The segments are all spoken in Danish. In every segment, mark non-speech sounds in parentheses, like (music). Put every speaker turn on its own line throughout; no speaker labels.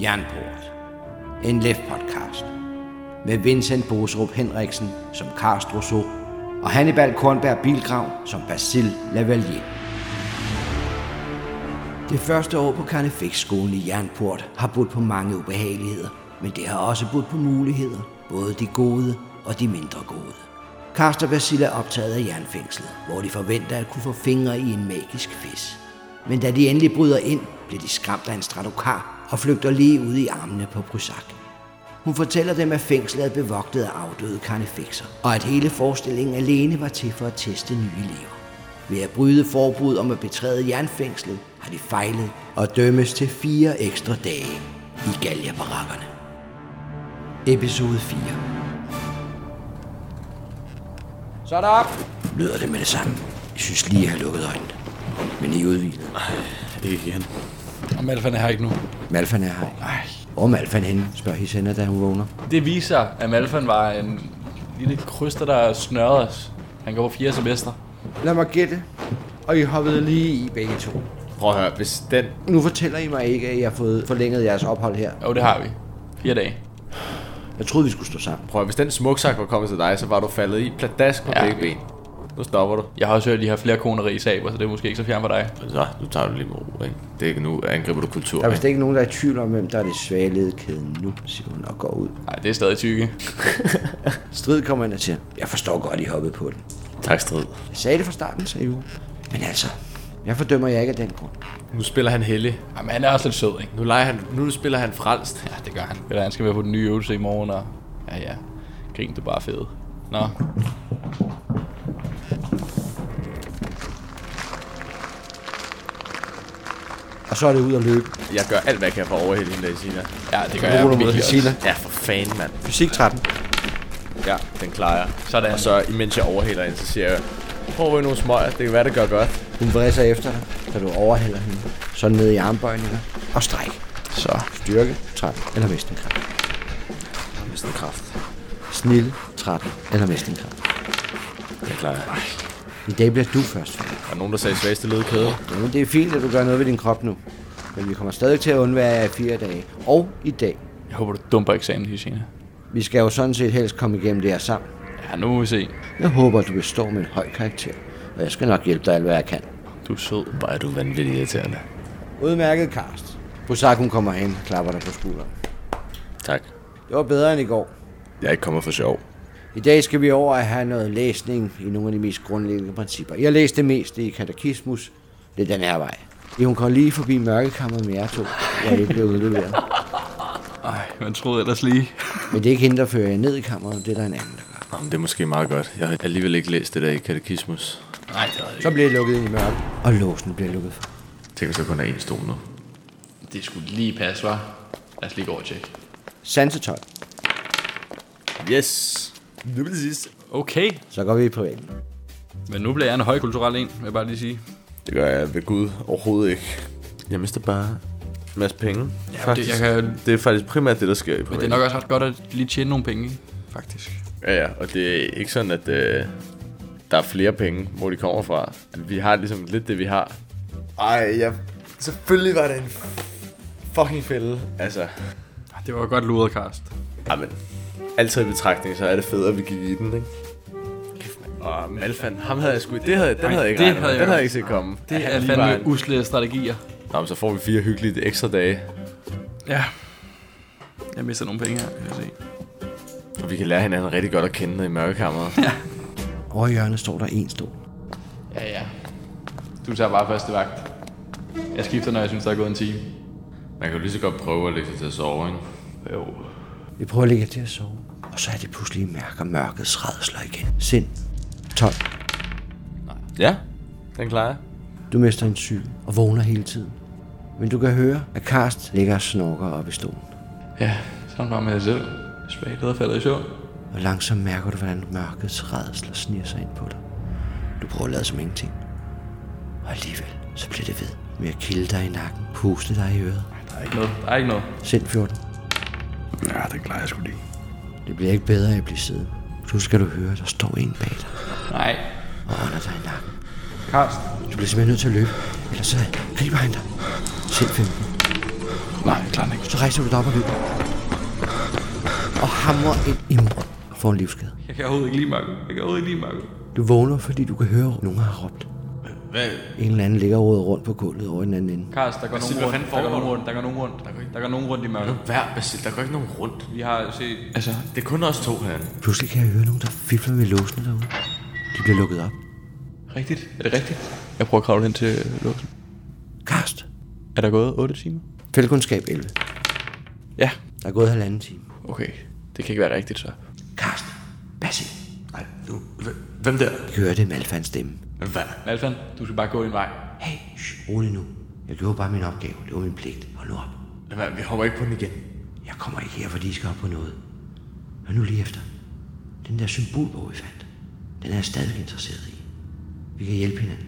Jernport. En LEF-podcast. Med Vincent Boserup Henriksen som Karst Rousseau og Hannibal Kornberg Bilgrav som Basil Lavalier. Det første år på Karnefæksskolen i Jernport har budt på mange ubehageligheder, men det har også budt på muligheder, både de gode og de mindre gode. Karst og Basil er optaget af jernfængslet, hvor de forventer at kunne få fingre i en magisk fisk. Men da de endelig bryder ind, bliver de skræmt af en stratokar og flygter lige ud i armene på Prusak. Hun fortæller dem, at fængslet er bevogtet af afdøde karnefekser, og at hele forestillingen alene var til for at teste nye elever. Ved at bryde forbud om at betræde jernfængslet, har de fejlet og dømmes til fire ekstra dage i galjabarakkerne. Episode 4
Så er der op.
lyder det med det samme. Jeg synes lige, jeg har lukket øjnene. Men I er udvildet.
Ikke igen.
Og Malfan er her ikke nu.
Malfan er her. Ej. Hvor er Malfan henne, spørger Hisenda, da hun vågner.
Det viser, at Malfan var en lille kryster, der snørrede os. Han går på fjerde semester.
Lad mig gætte. Og I hoppede lige i begge to.
Prøv at høre, hvis den...
Nu fortæller I mig ikke, at I har fået forlænget jeres ophold her.
Jo, det har vi. Fire dage.
Jeg troede, vi skulle stå sammen.
Prøv at, høre, hvis den smuksak var kommet til dig, så var du faldet i pladask på
Ja.
ja. begge ben. Nu stopper du.
Jeg har også hørt, at de har flere koner i saber, så det er måske ikke så fjern for dig.
Så, nu tager du lige med ro, ikke? Det er ikke nu, angriber du kultur.
Der er vist ikke nogen, der er i tvivl om, hvem der er det svage ledekæden nu, siger hun og går ud.
Nej, det er stadig tykke.
Strid kommer ind til.
Jeg forstår godt, I hoppede på den.
Tak, strid.
Jeg sagde det fra starten, sagde Jule.
Men altså,
Jeg fordømmer jer ikke af den grund.
Nu spiller han heldig.
Jamen, han er også lidt sød, ikke?
Nu, leger han, nu spiller han frelst.
Ja, det gør han. Eller han skal være på den nye øvelse i morgen, og... Ja, ja. Grin, du er bare fed. Nå.
Og så er det ud at løbe.
Jeg gør alt, hvad jeg kan for at overhælde hende, der, Sina.
Ja, det gør
Nu
jeg
ruller mod
virkelig også.
Hesina.
Ja, for fanden, mand.
Fysik 13.
Ja, den klarer jeg.
Sådan.
Og så, imens jeg overhælder hende, så siger jeg, prøv at ryge nogle smøger. Det kan være, det gør godt.
Hun vred sig efter dig, da du overhælder hende. Så ned i armbøjninger og stræk.
Så.
Styrke 13 eller mestenkraft.
Hvis den kraft.
Snille 13 eller mestenkraft.
Den klarer jeg.
I dag bliver du først færdig.
Der er nogen, der sagde svageste ledkæde.
Jamen, det er fint, at du gør noget ved din krop nu. Men vi kommer stadig til at undvære jer i fire dage. Og i dag.
Jeg håber, du dumper eksamen, Hysina.
Vi skal jo sådan set helst komme igennem det her sammen.
Ja, nu må vi se.
Jeg håber, du består med en høj karakter. Og jeg skal nok hjælpe dig alt, hvad jeg kan.
Du er sød.
Hvor er du vanvittig irriterende.
Udmærket, Karst. Busak, hun kommer hen og klapper dig på skulderen.
Tak.
Det var bedre end i går.
Jeg er ikke kommet for sjov.
I dag skal vi over at have noget læsning i nogle af de mest grundlæggende principper. Jeg læste det meste i katekismus. Det er den her vej. Hun kom lige forbi mørkekammeret med jer to, hvor I blev udleveret.
Ej, man troede ellers lige.
Men det er ikke hende, der fører jer ned i kammeret. Det er der en anden, der gør.
Jamen, det er måske meget godt. Jeg har alligevel ikke læst det der i katekismus.
Nej, det er
Så bliver det lukket ind i mørket, og låsen bliver lukket for.
Tænk, hvis der kun er én stol nu.
Det skulle lige passe, var. Lad os lige gå over og tjekke.
Sansetøj.
Yes! Nu er det sidste.
Okay,
Så går vi i privaten.
men nu bliver jeg en højkulturel en, vil jeg bare lige sige.
Det gør jeg ved Gud overhovedet ikke. Jeg mister bare en masse penge.
Ja, det, jeg kan,
Det er faktisk primært det, der sker i
men
privat.
det er nok også ret godt at lige tjene nogle penge, ikke? faktisk.
Ja, ja, og det er ikke sådan, at øh, der er flere penge, hvor de kommer fra. Vi har ligesom lidt det, vi har. Ej, jeg... Selvfølgelig var det en fucking fælde. Altså,
Ah, Det var godt luret, Karst.
Jamen, altid i betragtning, så er det fedt, at vi gik i den, ikke? Og Malfan, ham havde jeg sgu... Det havde, den havde jeg ikke
det
regnet med.
havde jeg
Den
også.
havde jeg ikke set komme.
Det
At
er
han lige var
fandme
en-
usle strategier.
Nå, men så får vi fire hyggelige ekstra dage,
Ja. Jeg mister nogle penge her, kan jeg se.
og vi kan lære hinanden rigtig godt at kende nede i mørkekammeret.
Over i hjørnet står der en stol.
Ja, ja. Du tager bare første vagt. Jeg skifter, når jeg synes, der er gået en time.
Man kan jo lige så godt prøve at lægge sig til at sove, ikke?
Jo.
Vi prøver at ligge jer til at sove. Og så er det pludselig I mærker mørkets redsler igen. Sind. 12.
Ja, den klarer jeg.
Du mister en syg og vågner hele tiden. Men du kan høre, at Karst ligger og snorker op i stolen.
Ja, sådan var med jer selv. Spagtet og faldet i søvn.
Og langsomt mærker du, hvordan mørkets redsler sniger sig ind på dig. Du prøver at lade som ingenting. Og alligevel, så bliver det ved med at kilde dig i nakken, puste dig i øret.
Der er ikke noget. Der er ikke noget.
Sind 14.
Ja, det klarer jeg sgu lige.
Det bliver ikke bedre af at blive siddende. Nu skal du høre, der står en bag dig
Nej.
og ånder dig i nakken.
Karst.
Du bliver simpelthen nødt til at løbe, ellers så griber han dig. Sind 15.
Nej, klart ikke.
Så rejser du dig op og løber. Og hamrer ind i muren for en livsskade.
Jeg kan overhovedet ikke lide Marco. Jeg kan overhovedet ikke lide Marco.
Du vågner, fordi du kan høre, at nogen har råbt.
Hvad?
En eller anden ligger rodet rundt på gulvet over i den anden ende.
Kars, der går nogen
hvad fanden
rundt. Der går
foregår
nogen
der?
rundt. Der går nogen rundt. Der går nogen rundt i mørket.
Hver Basil, der går ikke nogen rundt.
Vi har set...
Altså, det er kun os to herinde.
Pludselig kan jeg høre nogen, der fifler med låsene derude. De bliver lukket op.
Rigtigt? Er det rigtigt? Jeg prøver at kravle hen til låsen.
Karst.
Er der gået 8 timer?
Fældkundskab 11.
Ja.
Der er gået halvanden time.
Okay. Det kan ikke være rigtigt, så.
Karst. Basil.
Nej, du... Hvem der?
Jeg hører det Malfans stemme.
Hvad?
Malfan, du skal bare gå din vej.
Hey, shh, rolig nu. Jeg gjorde bare min opgave. Det var min pligt. Hold nu op.
Hvad? Vi hopper ikke på den igen.
Jeg kommer ikke her, fordi I skal op på noget. Hør nu lige efter. Den der symbolbog, vi fandt, den er jeg stadig interesseret i. Vi kan hjælpe hinanden.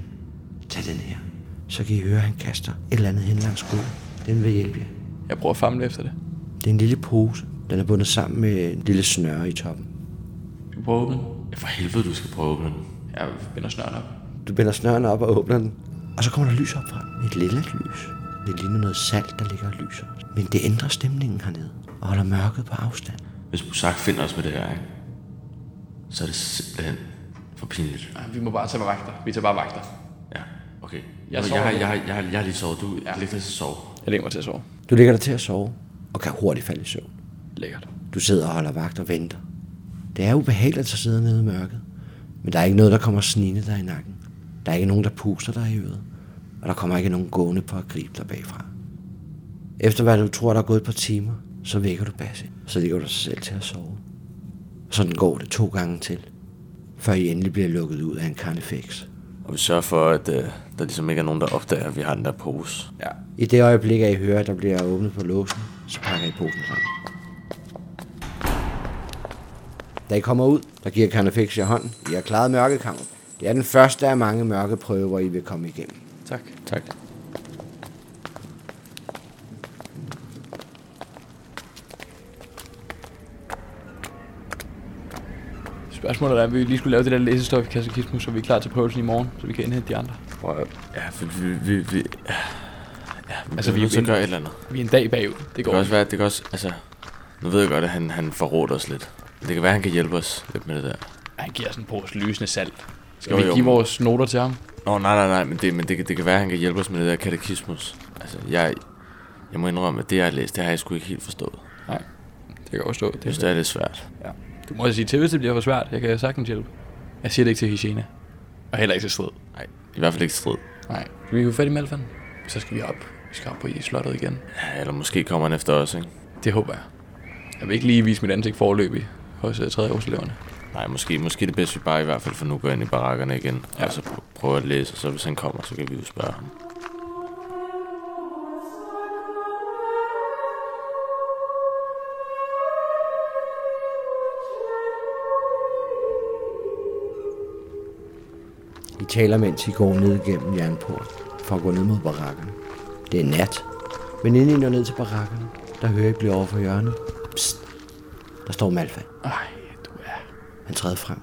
Tag den her. Så kan I høre, at han kaster et eller andet hen langs gulvet. Den vil hjælpe jer.
Jeg prøver at famle efter det.
Det er en lille pose. Den er bundet sammen med en lille snøre i toppen.
Skal vi prøve at åbne den?
Ja, For helvede, du skal prøve at åbne den.
Jeg binder snøren op.
Du binder snøren op og åbner den. Og så kommer der lys op fra den. Et lille lys. Det ligner noget salt, der ligger og lyser. Men det ændrer stemningen hernede og holder mørket på afstand.
Hvis Musak finder os med det her, ikke? Så er det simpelthen for pinligt.
Ej, Vi må bare tage vagter. Vi tager bare vagter.
Ja, okay.
Jeg
Jeg,
sover
jeg, har,
nu.
jeg, har, jeg, har, jeg har lige sovet. Du ja. ligger til at sove.
Jeg lægger mig til at sove.
Du ligger der til at sove og kan hurtigt falde i søvn.
Lækkert.
Du sidder og holder vagt og venter. Det er ubehageligt at sidde nede i mørket. Men der er ikke noget, der kommer snigende dig i nakken. Der er ikke nogen, der puster dig i øret. Og der kommer ikke nogen gående på at gribe dig bagfra. Efter hvad du tror, der er gået et par timer, så vækker du Basse. Og så ligger du dig selv til at sove. Og sådan går det to gange til. Før I endelig bliver lukket ud af en karnefix.
Og vi sørger for, at øh, der ligesom ikke er nogen, der opdager, at vi har den der pose.
Ja.
I det øjeblik, at I hører, at der bliver åbnet på låsen, så pakker I posen sammen. Da I kommer ud, der giver Carnifex jer hånden. I har klaret mørkekampen. Det er den første af mange mørke prøver, I vil komme igennem.
Tak.
Tak.
Spørgsmålet er, om vi lige skulle lave det der læsestof i kassakismus, så vi er klar til prøvelsen i morgen, så vi kan indhente de andre.
Prøv at... Ja, for vi... vi, vi ja, vi
Altså,
altså,
vi
vi
er
nødt til at
vinde.
gøre et eller andet.
Vi er en dag bagud. Det
Det
går
kan også være, det kan også... Altså, nu ved jeg godt, at han, han forråder os lidt. Men det kan være, at han kan hjælpe os lidt med det der.
Han giver sådan en pose lysende salt. Skal
Jo,
vi
jo,
give
men-
vores noter til ham?
Nå, nej, nej, nej, men, det, men det, kan- det kan være, at han kan hjælpe os med det der katekismus. Altså, jeg, jeg må indrømme, at det, jeg har læst, det har jeg sgu ikke helt forstået.
Nej, det kan jeg godt stå.
Jeg synes,
Det
det er lidt svært.
ja. Du må sige til, hvis det bliver for svært. Jeg kan sagtens hjælpe. Jeg siger det ikke til Hygiena. Og heller ikke til strid.
Nej, i hvert fald ikke strid.
Nej. Skal vi jo fat i Malfan? Så skal vi op. Vi skal op på i slottet igen.
Ja, eller måske kommer han efter os, ikke?
Det håber jeg. Jeg vil ikke lige vise mit ansigt forløbig hos uh, 3. årseleverne.
Nej, måske, måske det bedste, vi bare i hvert fald for nu går ind i barakkerne igen. Ja. Og så pr- prøver at læse, og så hvis han kommer, så kan vi jo spørge ham.
I taler, mens I går ned gennem jernport for at gå ned mod barakkerne. Det er nat, men inden I når ned til barakkerne, der hører I blive over for hjørnet. Psst. Der står Malfa.
Ej, du er...
Han træder frem.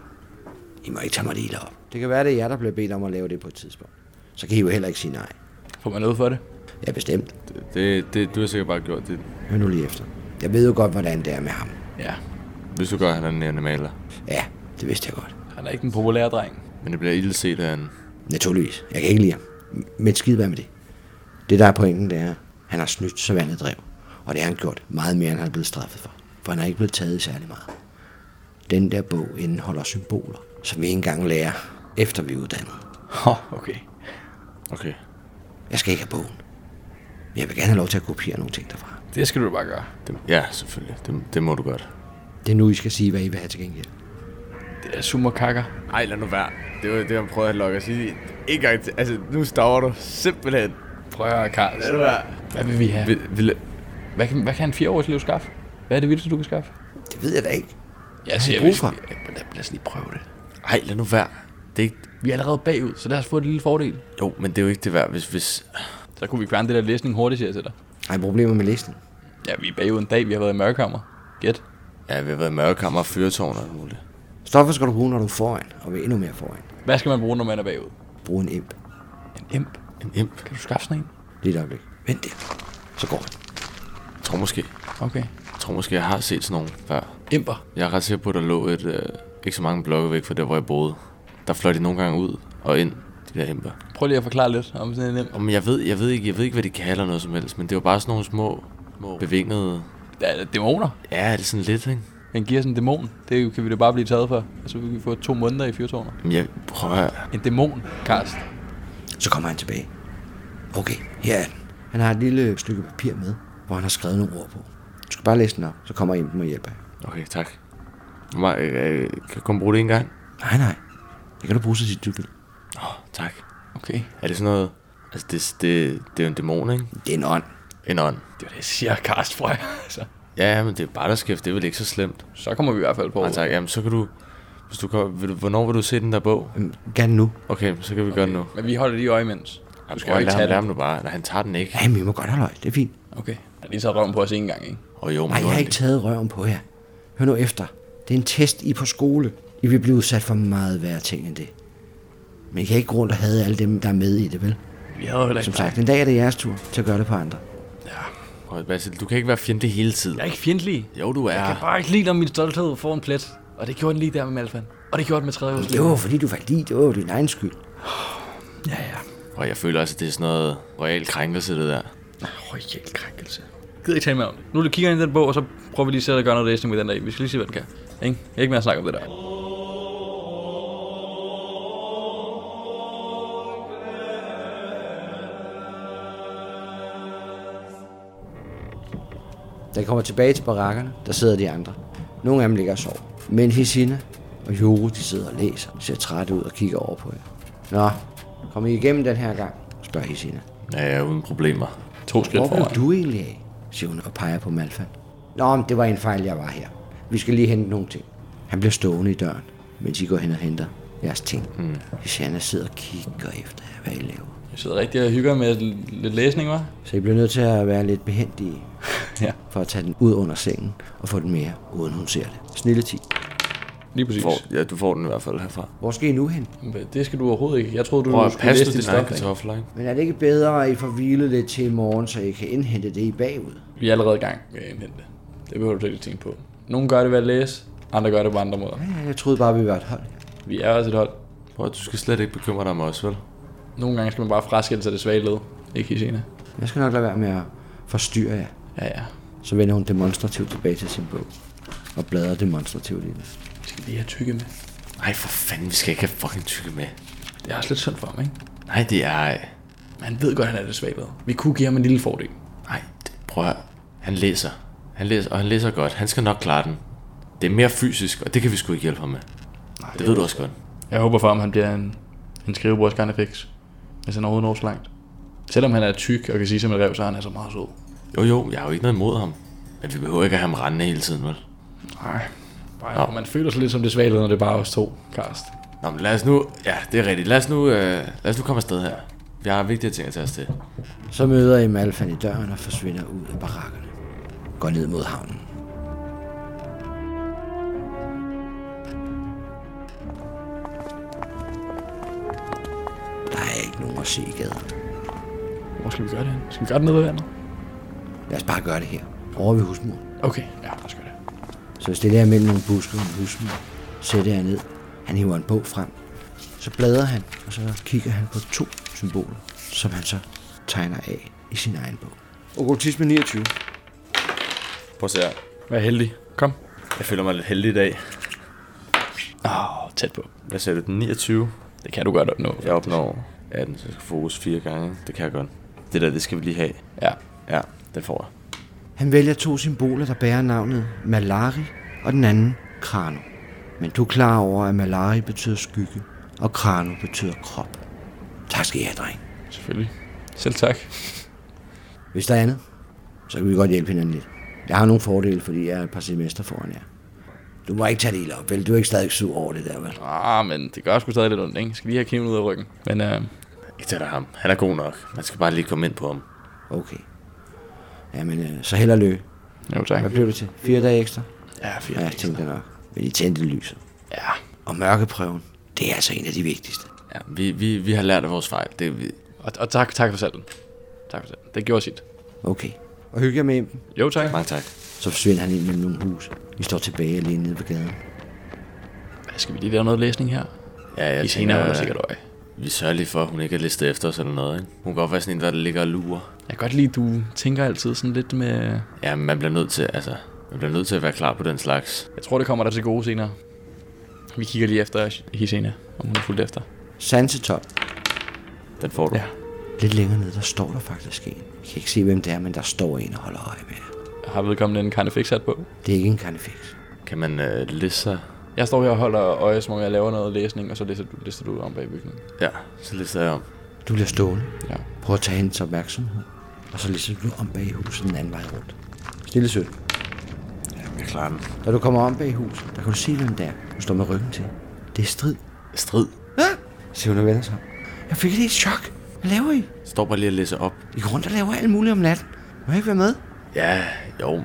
I må ikke tage mig lige op. Det kan være, det er jer, der bliver bedt om at lave det på et tidspunkt. Så kan I jo heller ikke sige nej.
Får man noget for det?
Ja, bestemt.
Det, det, det du har sikkert bare gjort det.
Hør nu lige efter. Jeg ved jo godt, hvordan det er med ham.
Ja.
Hvis du gør, at han er en animaler.
Ja, det vidste jeg godt.
Han er ikke den populære dreng.
Men det bliver ildt set af han.
Naturligvis. Jeg kan ikke lide ham. M- Men skide være med det. Det, der er pointen, det er, at han har snydt, så vandet drev. Og det har han gjort meget mere, end han er blevet straffet for. For han er ikke blevet taget i særlig meget. Den der bog indeholder symboler, som vi ikke engang lærer, efter vi er uddannet.
Hå, okay.
Okay.
Jeg skal ikke have bogen. Men jeg vil gerne have lov til at kopiere nogle ting derfra.
Det skal du bare gøre.
Det, ja, selvfølgelig. Det, det må du godt.
Det er nu, I skal sige, hvad I vil have til gengæld.
Det er summerkakker.
Ej, lad nu være. Det var det, han prøvede at lokke os i. Ikke gang til. Altså, nu staver du simpelthen.
Prøv at høre, Karls.
Lad nu være.
Hvad vil vi have?
Vi, vi,
Hvad kan, hvad kan en fireårig liv skaffe? Hvad er det vildeste, du kan skaffe?
Det ved jeg da ikke.
Jeg siger,
brug
vi
for?
skal... Ja, Lad, lad os lige prøve det.
ej, lad nu være. Det er ikke,
Vi er allerede bagud, så lad os få et lille fordel.
jo, men det er jo ikke det værd, hvis... hvis
Så kunne vi fjerne det der læsning hurtigt, siger jeg til dig.
Har I problemer med læsning?
Ja, vi er bagud en dag, vi har været i mørkekammer. Gæt.
ja, vi har været i mørkekammer og fyrtårn og alt muligt.
Stoffer skal du bruge, når du er foran, og vil endnu mere foran.
Hvad skal man bruge, når man er bagud?
Brug en imp.
En imp.
En imp.
Kan du skaffe sådan en?
Lige et øjeblik. Vent der. Så går han.
tror måske,
Okay.
jeg tror måske, jeg har set sådan nogen før.
Imper.
Jeg er ret sikker på, at der lå et, øh, ikke så mange blokke væk fra der, hvor jeg boede. Der fløj de nogle gange ud og ind, de der imper.
Prøv lige at forklare lidt om sådan en imper.
Og men jeg ved, jeg ved ikke, jeg ved ikke, hvad de kalder noget som helst, men det var bare sådan nogle små, små bevingede...
Ja, det er dæmoner.
Ja, det er sådan lidt, ikke?
Han giver sådan en dæmon. Det kan vi da bare blive taget for. Altså, vi kan få to måneder i fyrtårnet.
Men jeg prøver at...
En dæmon, Karst.
Så kommer han tilbage. Okay, her er den. Han har et lille stykke papir med, hvor han har skrevet nogle ord på. Du skal bare læse den op, så kommer Impen og hjælper jer.
Okay, tak. Hvor meget- øh, øh, Kan jeg kun bruge det en gang?
Nej, nej. Det kan du bruge så tit, du vil.
Åh, oh, tak.
Okay.
Er det sådan noget... Altså, det, det, det er jo en dæmon, ikke?
Det er en ånd.
En ånd.
Det var det, jeg (laughs) siger, Karst, prøv at- altså.
Ja, ja, men det er bare der skæft, det er vel ikke så slemt.
Så kommer vi i hvert fald på.
Nej, tak. Altså, Jamen, så kan du... Hvis du kommer, vil du, hvornår vil du se den der bog?
Øhm, Gør den nu.
Okay, så kan vi okay. gøre det nu.
Men vi holder lige øje imens.
Jamen,
Du skal jo ikke
lad,
tage
ham,
den.
lad ham nu bare. Nej, han tager den ikke.
Ja, men vi må godt holde øje. Det er fint.
Okay. Jeg har lige taget røven på os en gang, ikke?
Og jo, men
Nej, jeg
nu er
har
han
ikke taget røven på jer. Hør nu efter. Det er en test, I er på skole. I vil blive udsat for meget værre ting end det. Men I kan ikke gå rundt og have alle dem, der er med i det, vel?
Vi havde jo heller
Som sagt, en dag er det jeres tur til at gøre det på andre.
lidt- Prøv at- Basil, du kan ikke være fjende hele tiden.
Jeg er ikke fjendtlig.
Jo, du
Jeg kan
er.
bare ikke lide, når min stolthed får en plet. Og det gjorde den lige der med Malfan. Og det gjorde den med tredje hus.
Det var jo, fordi du faldt i. Det var jo din egen skyld.
Ja, ja.
Og jeg føler også, at det er sådan noget royal krænkelse, det der.
Royal krænkelse. Gider ikke tale med om det. Nu kigger jeg ind i den bog, og så prøver vi lige selv at gøre noget læsning med den der. i. Vi skal lige se, hvad den kan. Ikke? Jeg er ikke mere at snakke om det der.
Da jeg kommer tilbage til barakkerne, der sidder de andre. Nogle af dem ligger og sover. Men Hesina og Joro, de sidder og læser, ser trætte ud og kigger over på jer. Nå, kom I igennem den her gang, spørger Hesina.
Ja, jeg er uden problemer.
To skridt
Hvor blev
foran.
du egentlig af, siger hun og peger på Malfan. Nå, men det var en fejl, jeg var her. Vi skal lige hente nogle ting. Han bliver stående i døren, mens I går hen og henter jeres ting. Mm. Hesina sidder og kigger efter jer, hvad I laver.
Jeg sidder rigtig og hygger med lidt læsning, hva'?
Så I bliver nødt til at være lidt behendige
Ja,
for at tage den ud under sengen og få den mere, uden hun ser det. Snille tid.
lige præcis.
Får, ja, du får den i hvert fald herfra.
Hvor skal I nu hen?
Det skal du overhovedet ikke. Jeg troede, du
Prøv at
skulle
passe
læse
nu
dit
dine egne
stof. ikke?
kartofler, ikke?
Men er det ikke bedre, at I får hvilet lidt til i morgen, så I kan indhente det i bagud?
Vi er allerede i gang med at indhente det. Det behøver du ikke tænke på. Nogle gør det ved at læse, andre gør det på andre måder.
Ja, jeg troede bare, vi var et hold.
Vi er også et hold.
Prøv at- du skal slet ikke bekymre dig om os, vel?
Nogle gange skal man bare fraskille sig det svage led. Ikke Hisena.
Jeg skal nok lade være med at forstyrre jer.
Ja, ja.
Så vender hun demonstrativt tilbage til sin bog og bladrer demonstrativt i den.
Vi skal lige have tykke med.
Nej, for fanden, vi skal ikke have fucking tykke med.
Det er også lidt synd for ham, ikke?
Nej, det er...
Men han ved godt, at han er det svage led. Vi kunne give ham en lille fordel.
Nej, det, prøv at... Han læser. Han læser, og han læser godt. Han skal nok klare den. Det er mere fysisk, og det kan vi sgu ikke hjælpe ham med. Nej, det, det ved du også godt.
Jeg håber for ham, han bliver en, en skrivebordskarnefix. Hvis han overhovedet når så langt. Selvom han er tyk og kan sige som et rev, så er han altså meget sød.
Jo, jo, jeg har jo ikke noget imod ham. Men vi behøver ikke at have ham rendende hele tiden, vel?
Nej. Bare, man føler sig lidt som det svage led, når det er bare os to, Karst.
Nå, men lad os nu... Ja, det er rigtigt. Lad os nu, øh, lad os nu komme afsted her. Vi har vigtige ting at tage os til.
Så møder I Malfan i døren og forsvinder ud af barakkerne. Går ned mod havnen. Der er ikke nogen at se i gaden.
Hvor skal vi gøre det hen? Skal vi gøre det nede ved vandet?
Lad os bare gøre det her. Over ved husmuren.
Okay, ja, lad os gøre det.
Så stiller jeg mellem nogle buske og en husmand. Sætter jeg ned. Han hiver en bog frem. Så bladrer han, og så kigger han på to symboler, som han så tegner af i sin egen bog. Okkultisme 29.
Prøv at se her.
Vær heldig. Kom.
Jeg føler mig lidt heldig i dag.
Åh, oh, tæt på.
Hvad sagde du? Den 29?
Det kan du godt opnå.
Jeg opnår 18, så jeg skal fokus fire gange. Det kan jeg godt. Det der, det skal vi lige have.
Ja.
Ja, det får jeg.
Han vælger to symboler, der bærer navnet Malari og den anden Krano. Men du er klar over, at Malari betyder skygge, og Krano betyder krop. Tak skal I have, dreng.
Selvfølgelig. Selv tak.
Hvis der er andet, så kan vi godt hjælpe hinanden lidt. Jeg har nogle fordele, fordi jeg er et par semester foran jer. Du må ikke tage det ilde op, vel? Du er ikke stadig sur over det der, vel?
Ah, men det gør sgu stadig lidt ondt, ikke? Jeg skal lige have kniven ud af ryggen. Men øh,
Ikke til dig ham. Han er god nok. Man skal bare lige komme ind på ham.
Okay. Jamen, øh, så held og lykke.
jo tak.
Hvad blev det til? Fire dage ekstra?
Ja,
Ja,
fire.
jeg tænkte nok. Men I tændte lyset.
Ja.
Og mørkeprøven, det er altså en af de vigtigste.
Ja, vi, vi, vi har lært af vores fejl. Det, er vi,
Og, og tak, tak for salten. Tak for salten. Det gjorde sit.
Okay. og hygge jer med Impen.
Jo tak.
Mange tak.
Så forsvinder han ind mellem nogle hus. Vi står tilbage alene nede på gaden.
Hvad, skal vi lige lave noget læsning her?
Ja, jeg
I senere holder sikkert øje.
vi sørger lige for, at hun ikke er listet efter os eller noget. Ikke? Hun kan godt være sådan en, der ligger og lurer.
Jeg kan godt lide, at du tænker altid sådan lidt med...
Ja, men man bliver nødt til, altså, man bliver nødt til at være klar på den slags.
Jeg tror, det kommer dig til gode senere. Vi kigger lige efter Hisena, om hun er fuldt efter.
Sansetop.
Den får du.
Ja.
Lidt længere nede, der står der faktisk en. Jeg kan ikke se, hvem det er, men der står en og holder øje med jer.
Har vedkommende en karnefix sat på?
Det er ikke en karnefix.
Kan man øh, liste sig?
Jeg står her og holder øje, som om jeg laver noget læsning, og så lister du, lister du om bag bygningen.
Ja, så lister jeg om.
Du bliver stående.
Ja.
Prøv at tage hendes opmærksomhed. Og så lige du om bag huset den anden vej rundt. Stille sødt.
Jeg klarer den.
Da du kommer om bag huset, der kan du se, hvem der Du står med ryggen til. Det er strid.
Strid.
Ah! Se, hun og vender sig. om. Jeg fik lige et chok. Hvad laver I?
Står bare lige og læser op.
I går rundt og laver alt muligt om natten. Må jeg ikke være med?
Ja, jo. Det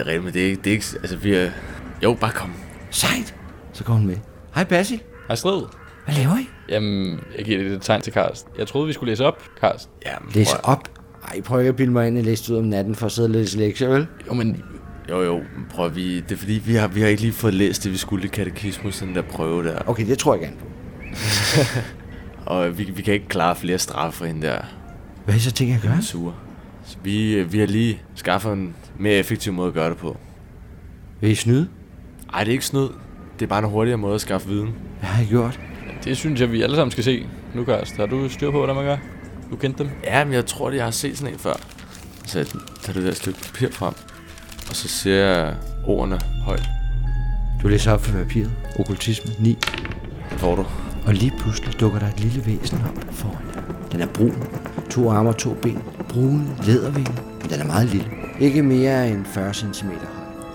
er rigtigt, men det er ikke, det er ikke altså vi er... Jo, bare kom.
Sejt. Så går hun med. Hej Basil.
Hej, strid.
Hvad laver I?
Jamen, jeg giver lidt et tegn til Karst. Jeg troede, vi skulle læse op, Karst.
Ja, men
Læs
prøv at-
op. Ej, prøv ikke at bilde mig ind, at læste ud om natten for at sidde og læse lektier, vel?
Jo, men
Jo, jo, men prøv at- vi, det er fordi, vi har, vi har ikke lige fået læst det, vi skulle i katekismus, den der prøve der.
Okay, det tror jeg gerne på.
Og vi, vi kan ikke klare flere straffe for hende der
Hvad er I så tænker jeg at gøre?
sure. Så vi, øh, vi har lige skaffet en mere effektiv måde at gøre det på.
Vil I snyde?
Ej, det er ikke snyd. Det er bare en hurtigere måde at skaffe viden.
Hvad har I gjort?
det synes jeg, vi alle sammen skal se. Nu, Karst, har du styr på, hvordan man gør? Du kendte dem?
Ja, men jeg tror, at jeg har set sådan en før. Så jeg tager det der stykke papir frem, og så ser jeg ordene højt.
Du læser op fra papiret. Okkultisme 9.
Den får du.
Og lige pludselig dukker der et lille væsen op foran dig. Den er brun. To arme og to ben. Brune lædervinger. Men den er meget lille. Ikke mere end 40 cm høj.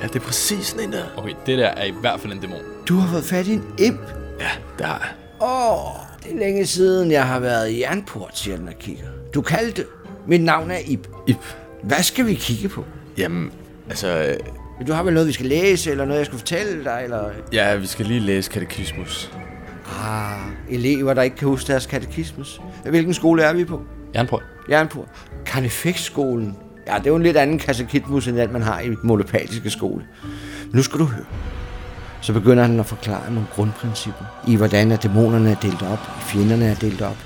Ja, det er præcis sådan en der.
Okay, det der er i hvert fald en dæmon.
Du har fået fat i en imp.
Ja, der har jeg.
Åh, det er længe siden, jeg har været i Jernport, siger den og kigger. Du kaldte. Mit navn er Ip.
Ip.
Hvad skal vi kigge på?
Jamen, altså... øh,
Du har vel noget, vi skal læse, eller noget, jeg skal fortælle dig, eller...
Ja, vi skal lige læse katekismus.
Ah, elever, der ikke kan huske deres katekismus. Hvilken skole er vi på?
Jernprøv.
Jernpur. Karnefækskolen. Ja, det er jo en lidt anden katekismus, end alt man har i den monopatiske skole. Men nu skal du høre. Så begynder han at forklare nogle grundprincipper i, hvordan at dæmonerne er delt op, i fjenderne er delt op,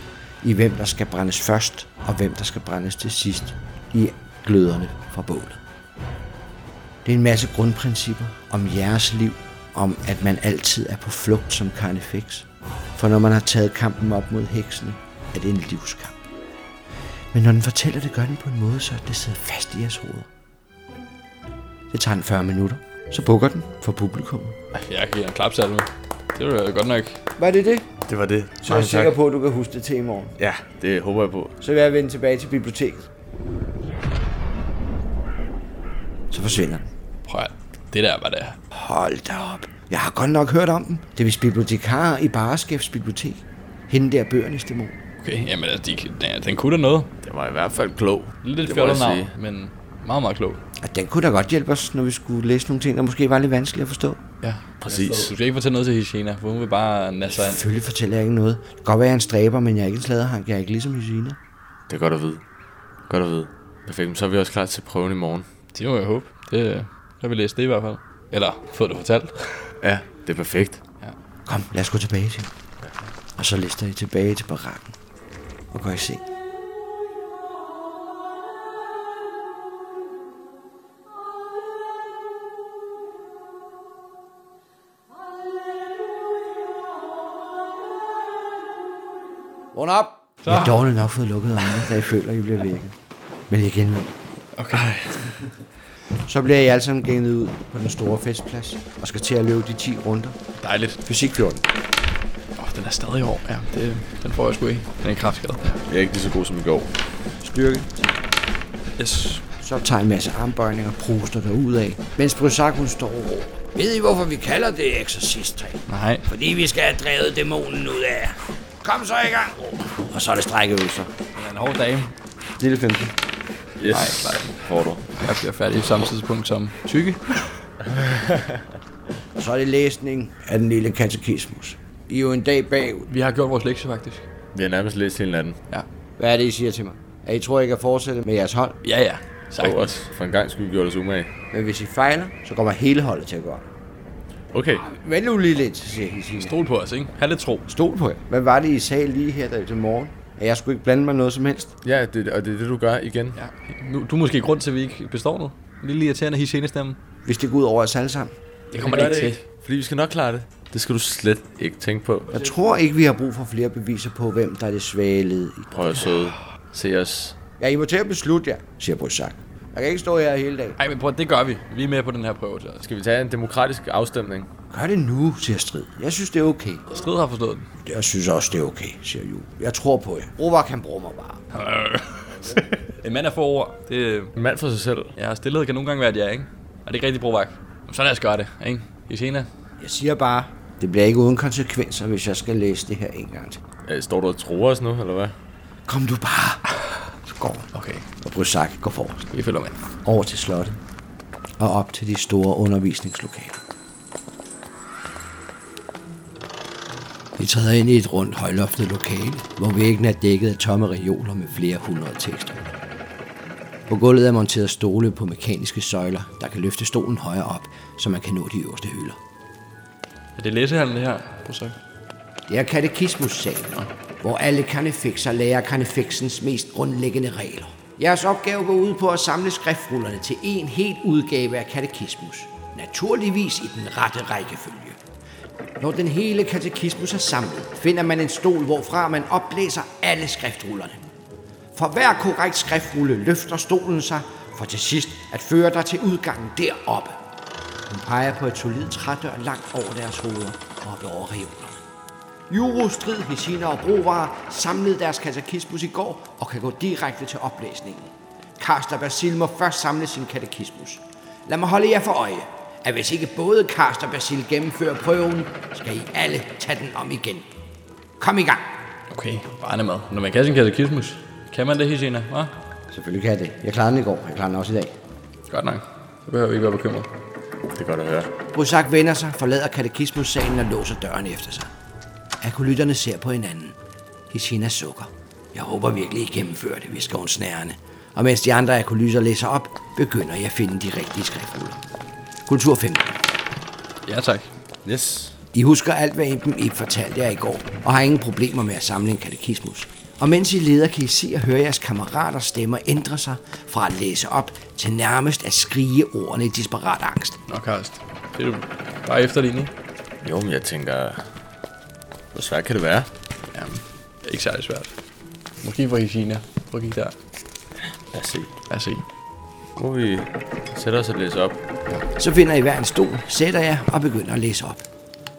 i hvem der skal brændes først, og hvem der skal brændes til sidst, i gløderne fra bålet. Det er en masse grundprincipper om jeres liv, om at man altid er på flugt som karnefeks. For når man har taget kampen op mod heksene, er det en livskamp. Men når den fortæller det, gør den på en måde, så det sidder fast i jeres hoveder. Det tager en 40 minutter. Så bukker den for publikum.
Jeg kan give en klapsalve. Det var godt nok.
Var det det?
Det var det.
Så er jeg sikker på, at du kan huske det til i morgen.
Ja, det håber jeg på.
Så vil jeg vende tilbage til biblioteket. Så forsvinder den.
Prøv at- det der var det.
Hold da op. Jeg har godt nok hørt om den. Det er vist bibliotekarer i Bareskæfts bibliotek. Hende der bøgernes dæmon.
Okay, jamen altså, de, ja, den kunne da noget.
Det var i hvert fald klog.
Lidt
det må jeg
fjollet navn,
sige.
men meget, meget klog.
Og den kunne da godt hjælpe os, når vi skulle læse nogle ting, der måske var lidt vanskelige at forstå.
Ja,
Præcis.
Du skal ikke fortælle noget til Hishina, for hun vil bare nasse sig ind.
Selvfølgelig fortæller jeg ikke noget. Det kan godt være, jeg er en stræber, men jeg er ikke en sladerhank. Jeg er ikke ligesom Hysina.
Det er godt at vide. Godt at vide. Perfekt, men så er vi også klar til prøven i morgen.
Det må jeg håbe. Det, øh, så har vi læst det i hvert fald. Eller fået det fortalt.
Ja, det er perfekt.
Kom, lad os gå tilbage til. Og så lister I tilbage til barakken. Og går i seng.
Vågn op!
Jeg har dårligt nok fået lukket øjnene, da jeg føler, at I bliver vækket. Men jeg genvender.
Okay.
Så bliver I alle sammen gænget ud på den store festplads og skal til at løbe de 10 runder.
Dejligt.
Fysik 14.
Åh, oh, den er stadig hård. Ja, det, den får jeg sgu ikke. Den er kraftskade.
Jeg er ikke lige så god som i går.
Styrke.
Yes.
Så tager I en masse armbøjninger og proster derud af, mens Brysak hun står og råber. Ved I, hvorfor vi kalder det eksorcist
Nej.
Fordi vi skal have drevet dæmonen ud af jer. Kom så i gang. Og så er det strækkeøvelser.
Det er en hård dame.
Lille 15.
Yes. Nej, klar. Får du.
Jeg bliver færdig i samme tidspunkt som tykke.
Og så er det læsning af den lille katekismus. I er jo en dag bagud.
Vi har gjort vores lektie, faktisk.
Vi har nærmest læst hele natten.
Ja.
Hvad er det, I siger til mig? At I tror, I kan fortsætte med jeres hold?
Ja, ja.
Og også for en gang skyld gjorde det så umage.
Men hvis I fejler, så kommer hele holdet til at gå op.
Okay,
Vent nu lige lidt, siger Hisina.
stol på os, ikke? Ha' lidt tro.
Stol på jer. Hvad var det, I sagde lige her der til morgen? At jeg skulle ikke blande mig noget som helst?
Ja, det, og det er det, du gør igen.
Ja. Nu, du er måske grund til, at vi ikke består nu. En lille irriterende hisenestemme.
Hvis det går ud over os alle sammen.
Det kommer det ikke til.
Fordi vi skal nok klare det. Det skal du slet ikke tænke på.
Jeg tror ikke, vi har brug for flere beviser på, hvem der er det svage led i.
Prøv at søde. Se os.
Ja, I må til at beslutte jer, siger Brysak. Jeg kan ikke stå her hele dagen.
Ej, men prøv, det gør vi. Vi er med på den her prøve. Så.
Skal vi tage en demokratisk afstemning?
Gør det nu, siger Strid. Jeg synes, det er okay.
Strid har forstået den.
Jeg synes også, det er okay, siger Jul. Jeg tror på jer. Robert kan bruge mig bare.
(laughs) En mand er få ord. Det, øh,
En mand for sig selv.
jeg har stillet kan nogle gange være, at jeg er, ikke? Og det er ikke rigtig brugvagt. Så lad os gøre det, ikke? Hisena.
Jeg siger bare, det bliver ikke uden konsekvenser, hvis jeg skal læse det her en gang til.
Øh, Står du og tror os nu, eller hvad?
Kom du bare. Så går hun,
Okay,
og Brysak går forrest.
vi følger med.
Over til slottet. Og op til de store undervisningslokaler.
Vi træder ind i et rundt højloftet lokale, hvor væggen er dækket af tomme reoler med flere hundrede tekster. På gulvet er monteret stole på mekaniske søjler, der kan løfte stolen højere op, så man kan nå de øverste hylder.
Er det læsehallen, det her? Prøv så.
Det er katekismussalen, hvor alle karnefekser lærer karnefeksens mest grundlæggende regler. Jeres opgave går ud på at samle skriftrullerne til en helt udgave af katekismus. Naturligvis i den rette rækkefølge. Når den hele katekismus er samlet, finder man en stol, hvorfra man oplæser alle skriftrullerne. For hver korrekt skriftrulle løfter stolen sig, for til sidst at føre dig til udgangen deroppe. Hun peger på et solidt trædør langt over deres hoveder og op over reolerne. Juro, Strid, Hesina og Brovarer samlede deres katekismus i går og kan gå direkte til oplæsningen. Karst og Basil må først samle sin katekismus. Lad mig holde jer for øje, at hvis ikke både Karst og Basil gennemfører prøven, skal I alle tage den om igen. Kom i gang!
Okay, barnemad. Når man kan sin katekismus, kan man det, Hisena, hva'?
Selvfølgelig kan jeg det. Jeg klarede den i går. Jeg klarer den også i dag.
Godt nok. Så behøver vi ikke være bekymret.
Det er godt at høre.
Brusak vender sig, forlader katekismussalen og låser døren efter sig. Akolytterne ser på hinanden. Hesina sukker. Jeg håber virkelig, I gennemfører det, visker hun snærende. Og mens de andre akolytter læser op, begynder jeg at finde de rigtige skriftruller. Kultur 15.
Ja, tak.
Yes.
I husker alt, hvad Iben Ip fortalte jer i går, og har ingen problemer med at samle en katekismus. Og mens I leder, kan I se og høre jeres kammeraters stemmer ændre sig fra at læse op til nærmest at skrige ordene i disparat angst.
Nå, Karst. Det er du bare efter lige nu.
Jo, men jeg tænker... Hvor svært kan det være?
Jamen, det er ikke særlig svært. Måske for Hisena. Prøv at kigge der.
Lad os se.
Lad os se.
Nu må vi sætte os og læse op.
Så finder I hver en stol, sætter jer og begynder at læse op.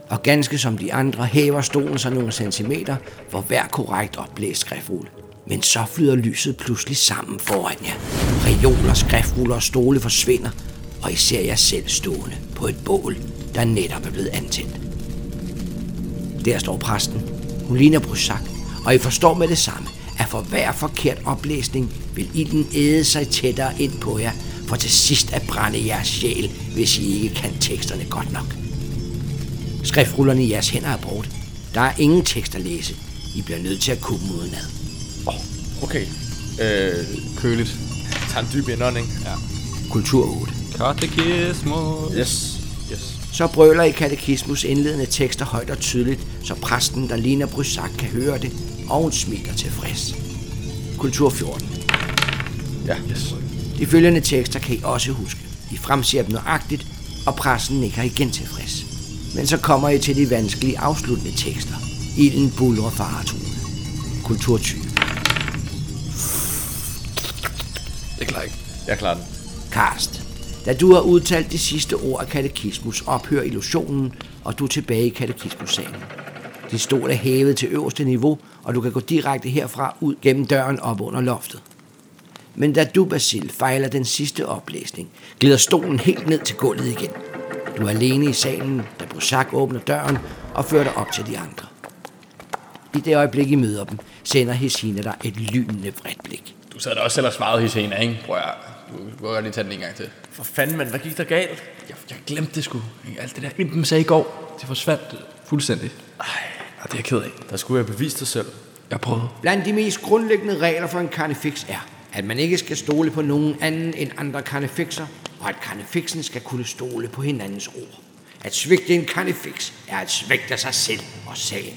Og ganske som de andre hæver stolen sig nogle centimeter, hvor hver korrekt oplæst skriftrulle. Men så flyder lyset pludselig sammen foran jer. Reoler, skriftruller og stole forsvinder, og I ser jer selv stående på et bål, der netop er blevet antændt. Der står præsten. Hun ligner Brusak, og I forstår med det samme, at for hver forkert oplæsning vil ilden æde sig tættere ind på jer, for til sidst at brænde jeres sjæl, hvis I ikke kan teksterne godt nok. Skriftrullerne i jeres hænder er brugt. Der er ingen tekst at læse. I bliver nødt til at kunne dem udenad.
Okay. Øh,
Køligt.
tag en dyb indånding. Ja.
Kultur 8.
Katekismus.
Yes.
Yes.
Så brøler I katekismus indledende tekster højt og tydeligt, så præsten, der ligner Brysak, kan høre det, og hun smiler tilfreds. Kultur 14.
Ja. Yes.
De følgende tekster kan I også huske. I fremsiger dem nøjagtigt, og pressen nikker igen tilfreds. Men så kommer I til de vanskelige afsluttende tekster. Ilden buller faretruende. Kultur 20.
Det klarer ikke.
Jeg klarer den.
Karst. Da du har udtalt de sidste ord af katekismus, ophører illusionen, og du er tilbage i katekismussalen. Din stol er hævet til øverste niveau, og du kan gå direkte herfra ud gennem døren op under loftet. Men da du, Basil, fejler den sidste oplæsning, glider stolen helt ned til gulvet igen. Du er alene i salen, da Brosak åbner døren og fører dig op til de andre. I det øjeblik, I møder dem, sender Hesina dig et lynende vredt blik.
Du sad da også selv og svarede Hisena, ikke? Prøv at... Du må godt lige tage den en gang til.
For fanden, mand, hvad gik der galt?
Jeg, jeg glemte det sgu. ikke? Alt det der, Impen sagde i går, det forsvandt fuldstændig. Ej, og det er jeg ked af.
Der skulle jeg bevise dig selv.
Jeg prøvede.
Blandt de mest grundlæggende regler for en karnefiks er,
at man ikke skal stole på nogen anden end andre karnefikser, og at karnefiksen skal kunne stole på hinandens ord. At svigte en karnefiks er at svigte sig selv og sagen.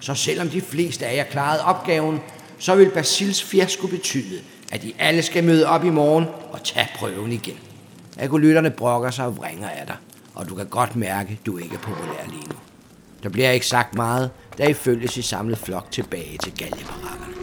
Så selvom de fleste af jer klarede opgaven, så vil Basils fiasko betyde, at I alle skal møde op i morgen og tage prøven igen. Akolytterne brokker sig og vringer af dig, og du kan godt mærke, du ikke er populær lige nu. Der bliver ikke sagt meget, da I følges i samlet flok tilbage til galjebarakkerne.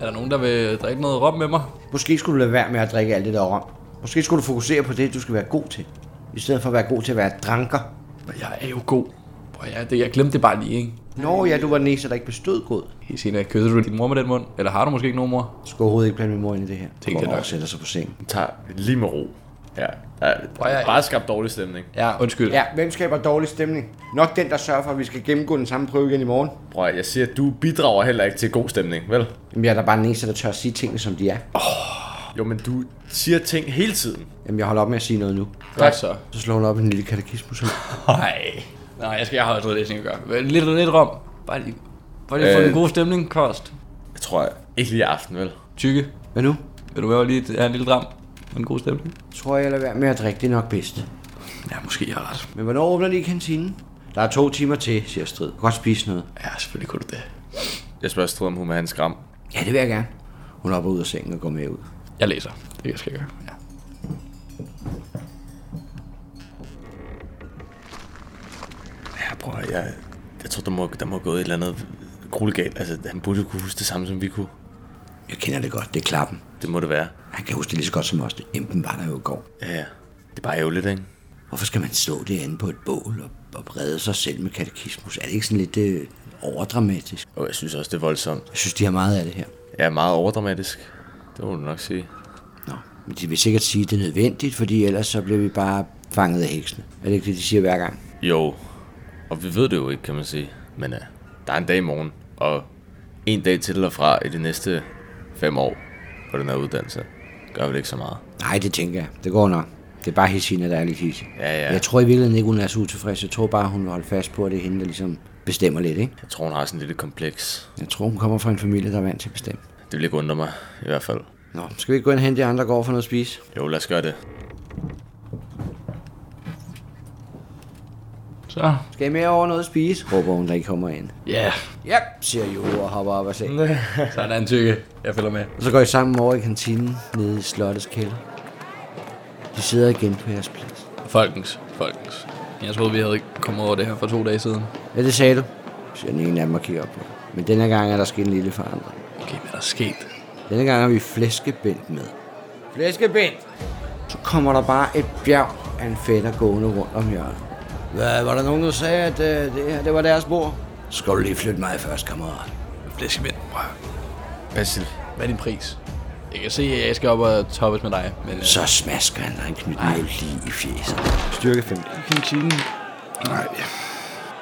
Er der nogen, der vil drikke noget rom med mig?
Måske skulle du lade være med at drikke alt det der rom. Måske skulle du fokusere på det, du skal være god til. I stedet for at være god til at være dranker.
Men jeg er jo god. Prøv, jeg, det, jeg glemte det bare lige, ikke?
Nå ja, du var den eneste, der ikke bestod god.
Helt senere, kysser du din mor med den mund? Eller har du måske ikke nogen mor?
Du skal overhovedet ikke blande min mor ind i det her. Tænk
jeg
dig
nok.
nok. sætter sig på sengen.
Tag lige med ro. Ja, der er
jeg-
bare skabt dårlig stemning.
Ja, undskyld.
Ja, hvem skaber dårlig stemning? Nok den, der sørger for, at vi skal gennemgå den samme prøve igen i morgen.
Prøv at, jeg siger, at du bidrager heller ikke til god stemning, vel?
Jamen, jeg er da bare den eneste, der tør at sige tingene, som de er.
Jo, men du siger ting hele tiden.
Jamen, jeg holder op med at sige noget nu.
Godt så.
Så slår hun op i en lille katekismus.
Nej. Nej, jeg skal jeg har også noget læsning at gøre. Vel, Lidt, lidt rom. Bare lige, bare lige øh. få
Øh.
den gode stemning, kost.
Jeg tror jeg, ikke lige i aften, vel?
Tykke.
Hvad nu?
Vil du være lige et- have en lille dram? Med en god stemning?
Tror jeg, jeg lader være med at drikke, det er nok bedst.
Ja, måske jeg har ret.
Men hvornår åbner de kantinen? Der er to timer til, siger Strid. Du kan godt spise noget.
Ja, selvfølgelig kunne du det.
Jeg spørger Strid, om hun vil have en skram.
Ja, det vil jeg gerne. Hun hopper ud af sengen og går med ud.
Jeg læser. Det skal jeg gøre. Ja.
Ja, prøv at, jeg, jeg tror, der må, der må gå et eller andet grulegalt. Altså, han burde jo kunne huske det samme, som vi kunne.
Jeg kender det godt, det er klappen.
Det må det være.
Han kan huske det lige så godt som os. Emben var der jo i går.
Ja, ja. Det er bare ærgerligt, ikke?
Hvorfor skal man stå derinde på et bål og, og redde sig selv med katekismus? Er det ikke sådan lidt øh, overdramatisk?
Og jeg synes også, det er voldsomt.
Jeg synes, de har meget af det her.
Jeg er meget overdramatisk. Det må du nok sige.
Nå, men de vil sikkert sige, at det er nødvendigt, fordi ellers så bliver vi bare fanget af heksene. Er det ikke det, de siger hver gang?
Jo, og vi ved det jo ikke, kan man sige. Men uh, der er en dag i morgen, og en dag til eller fra i de næste fem år på den her uddannelse. Gør vel ikke så meget.
Nej, det tænker jeg. Det går nok. Det er bare Hesina, der er lidt hissig.
Ja, ja.
Jeg tror i virkeligheden ikke, hun er så utilfreds. Jeg tror bare, hun vil holde fast på, at det er hende, der ligesom bestemmer lidt, ikke?
Jeg tror, hun har sådan et lille kompleks.
Jeg tror, hun kommer fra en familie, der er vant til at bestemme.
Det vil ikke undre mig, i hvert fald.
Nå, skal vi ikke gå ind og hente de andre, der går over for noget at spise?
Jo, lad os gøre det.
Så.
Skal I med over noget at spise? Råber hun, der ikke kommer ind.
Ja.
Ja, siger Jo og hopper op af sengen.
Yeah. (laughs) Sådan, tykke. Jeg følger med.
Og så går I sammen over i kantinen nede i slottets kælder. De sidder igen på jeres plads.
Folkens. Folkens. Jeg troede, vi havde kommet over det her for to dage siden.
Ja, det sagde du, siger den ene af dem og kigger op på. dig. Men denne gang er der sket en lille forandring.
Okay, hvad er der sket?
Denne gang har vi flæskebind med. Flæskebind! Så kommer der bare et bjerg af en fætter gående rundt om hjørnet. Hvad, var der nogen, der sagde, at øh, det her det var deres bord? Skal du lige flytte mig først, kammerat?
Flæskemænd. Prøv.
Basil,
Hvad er din pris? Jeg kan se, at jeg skal op og toppes med dig, men... øh,
Så smasker han dig en knytnæve lige i fjeset. Styrke 5.
kantinen. Nej.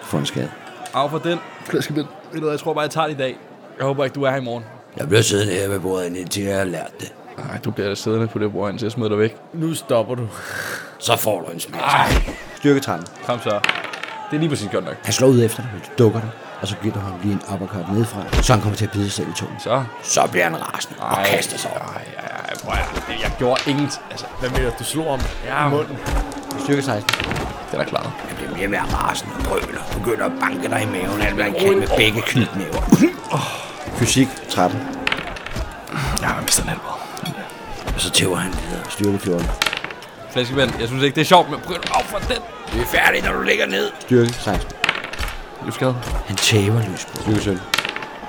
For en skade.
Af for den. Flæskemænd. Ved du hvad, jeg tror bare, jeg tager det i dag. Jeg håber ikke, du er her i morgen.
Jeg bliver siddende her ved bordet, indtil jeg har lært det.
Nej, du bliver siddende på det bord, indtil jeg smider dig væk.
nu stopper du.
Så får du en smask. Styrke 13.
Kom så. Det er lige præcis godt nok.
Han slår ud efter dig, men du dukker dig, og så giver du ham lige en uppercut nedefra, så han kommer til at bide sig selv i tungen.
Så.
Så bliver han rasende og kaster sig over.
Ej, ej, ej, prøv at høre. Jeg gjorde ingenting. Altså,
Hvad mener du? Du slog om
ja, munden.
Styrke 16.
Den er klar.
Han bliver mere og mere rasende og brøler. Begynder at banke dig i maven, alt hvad han kan med begge knytnæver. Fysik 13.
Ja, men hvis den helvede.
Og så tæver han videre. Styrke 14.
Flæskemænd, jeg synes ikke, det er sjovt, men prøv at af for den.
Vi er færdige, når du ligger ned. Styrke 16.
Du skal.
Han tæver løs på. Styrke 17.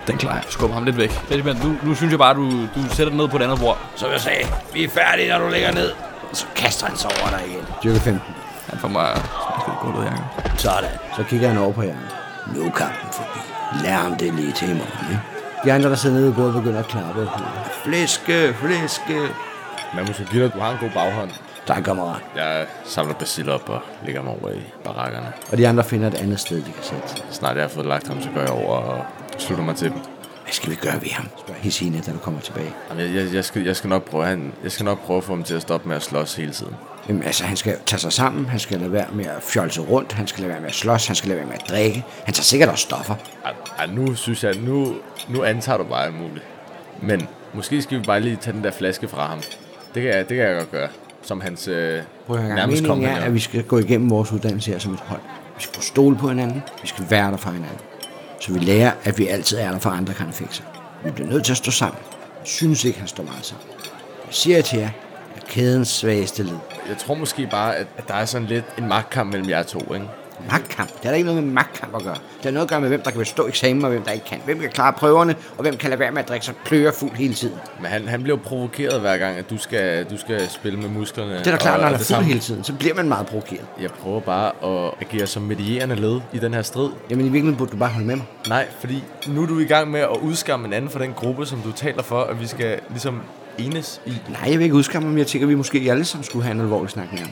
Den klarer jeg. Skub ham lidt væk. Flæskemænd, nu, nu synes jeg bare, du, du sætter den ned på et andet bord.
Som jeg sagde, vi er færdige, når du ligger ned. Så kaster han sig over dig igen. Styrke 15.
Han får mig... Det er gulvet, Jacob.
Sådan. Så kigger han over på jer. Nu er kampen forbi. Lær ham det lige til i morgen, ikke? De andre, der sidder nede ved bordet, begynder at klappe. Flæske, flæske.
Man må så give dig, du har en god baghånd.
Tak, kammerat.
Jeg samler Basil op og lægger mig over i barakkerne.
Og de andre finder et andet sted, de kan sætte sig.
Snart jeg har fået lagt ham, så går jeg over og slutter mig til dem.
Hvad skal vi gøre ved ham? Spørger Hesina, da du kommer tilbage.
Jamen, Jeg, jeg, jeg, skal, jeg, skal nok prøve, han, jeg skal nok prøve at få dem til at stoppe med at slås hele tiden.
Jamen, altså, han skal tage sig sammen, han skal lade være med at fjolse rundt, han skal lade være med at slås, han skal lade være med at drikke. Han tager sikkert også stoffer.
Ej, ej, nu synes jeg, nu, nu antager du bare alt muligt. Men måske skal vi bare lige tage den der flaske fra ham. Det kan jeg, det kan jeg godt gøre. Som hans øh, nærmest
Meningen er,
kompagnon.
at vi skal gå igennem vores uddannelse her som et hold. Vi skal kunne stole på hinanden, vi skal være der for hinanden. Så vi lærer, at vi altid er der for andre karnefixer. Vi bliver nødt til at stå sammen. Jeg synes ikke, han står meget sammen. Jeg siger til jer, at kædens svageste led.
Jeg tror måske bare, at at der er sådan lidt en magtkamp mellem jer to, ikke?
Magtkamp. Det har da ikke noget med magtkamp at gøre. Det har noget at gøre med, hvem der kan bestå eksamen, og hvem der ikke kan. Hvem kan klare prøverne, og hvem kan lade være med at drikke sig plørefuld hele tiden.
Men han, han bliver jo provokeret hver gang, at du skal, du skal spille med musklerne.
Det er da klart, når han er fuld
samme-
hele tiden, så bliver man meget provokeret.
Jeg prøver bare at agere som medierende led i den her strid.
Jamen i virkeligheden burde du bare holde med mig.
Nej, fordi nu er du i gang med at udskamme en anden fra den gruppe, som du taler for, at vi skal ligesom enes i.
Nej, jeg vil ikke udskamme ham. Jeg tænker, at vi måske alle sammen skulle have en alvorlig snak med ham.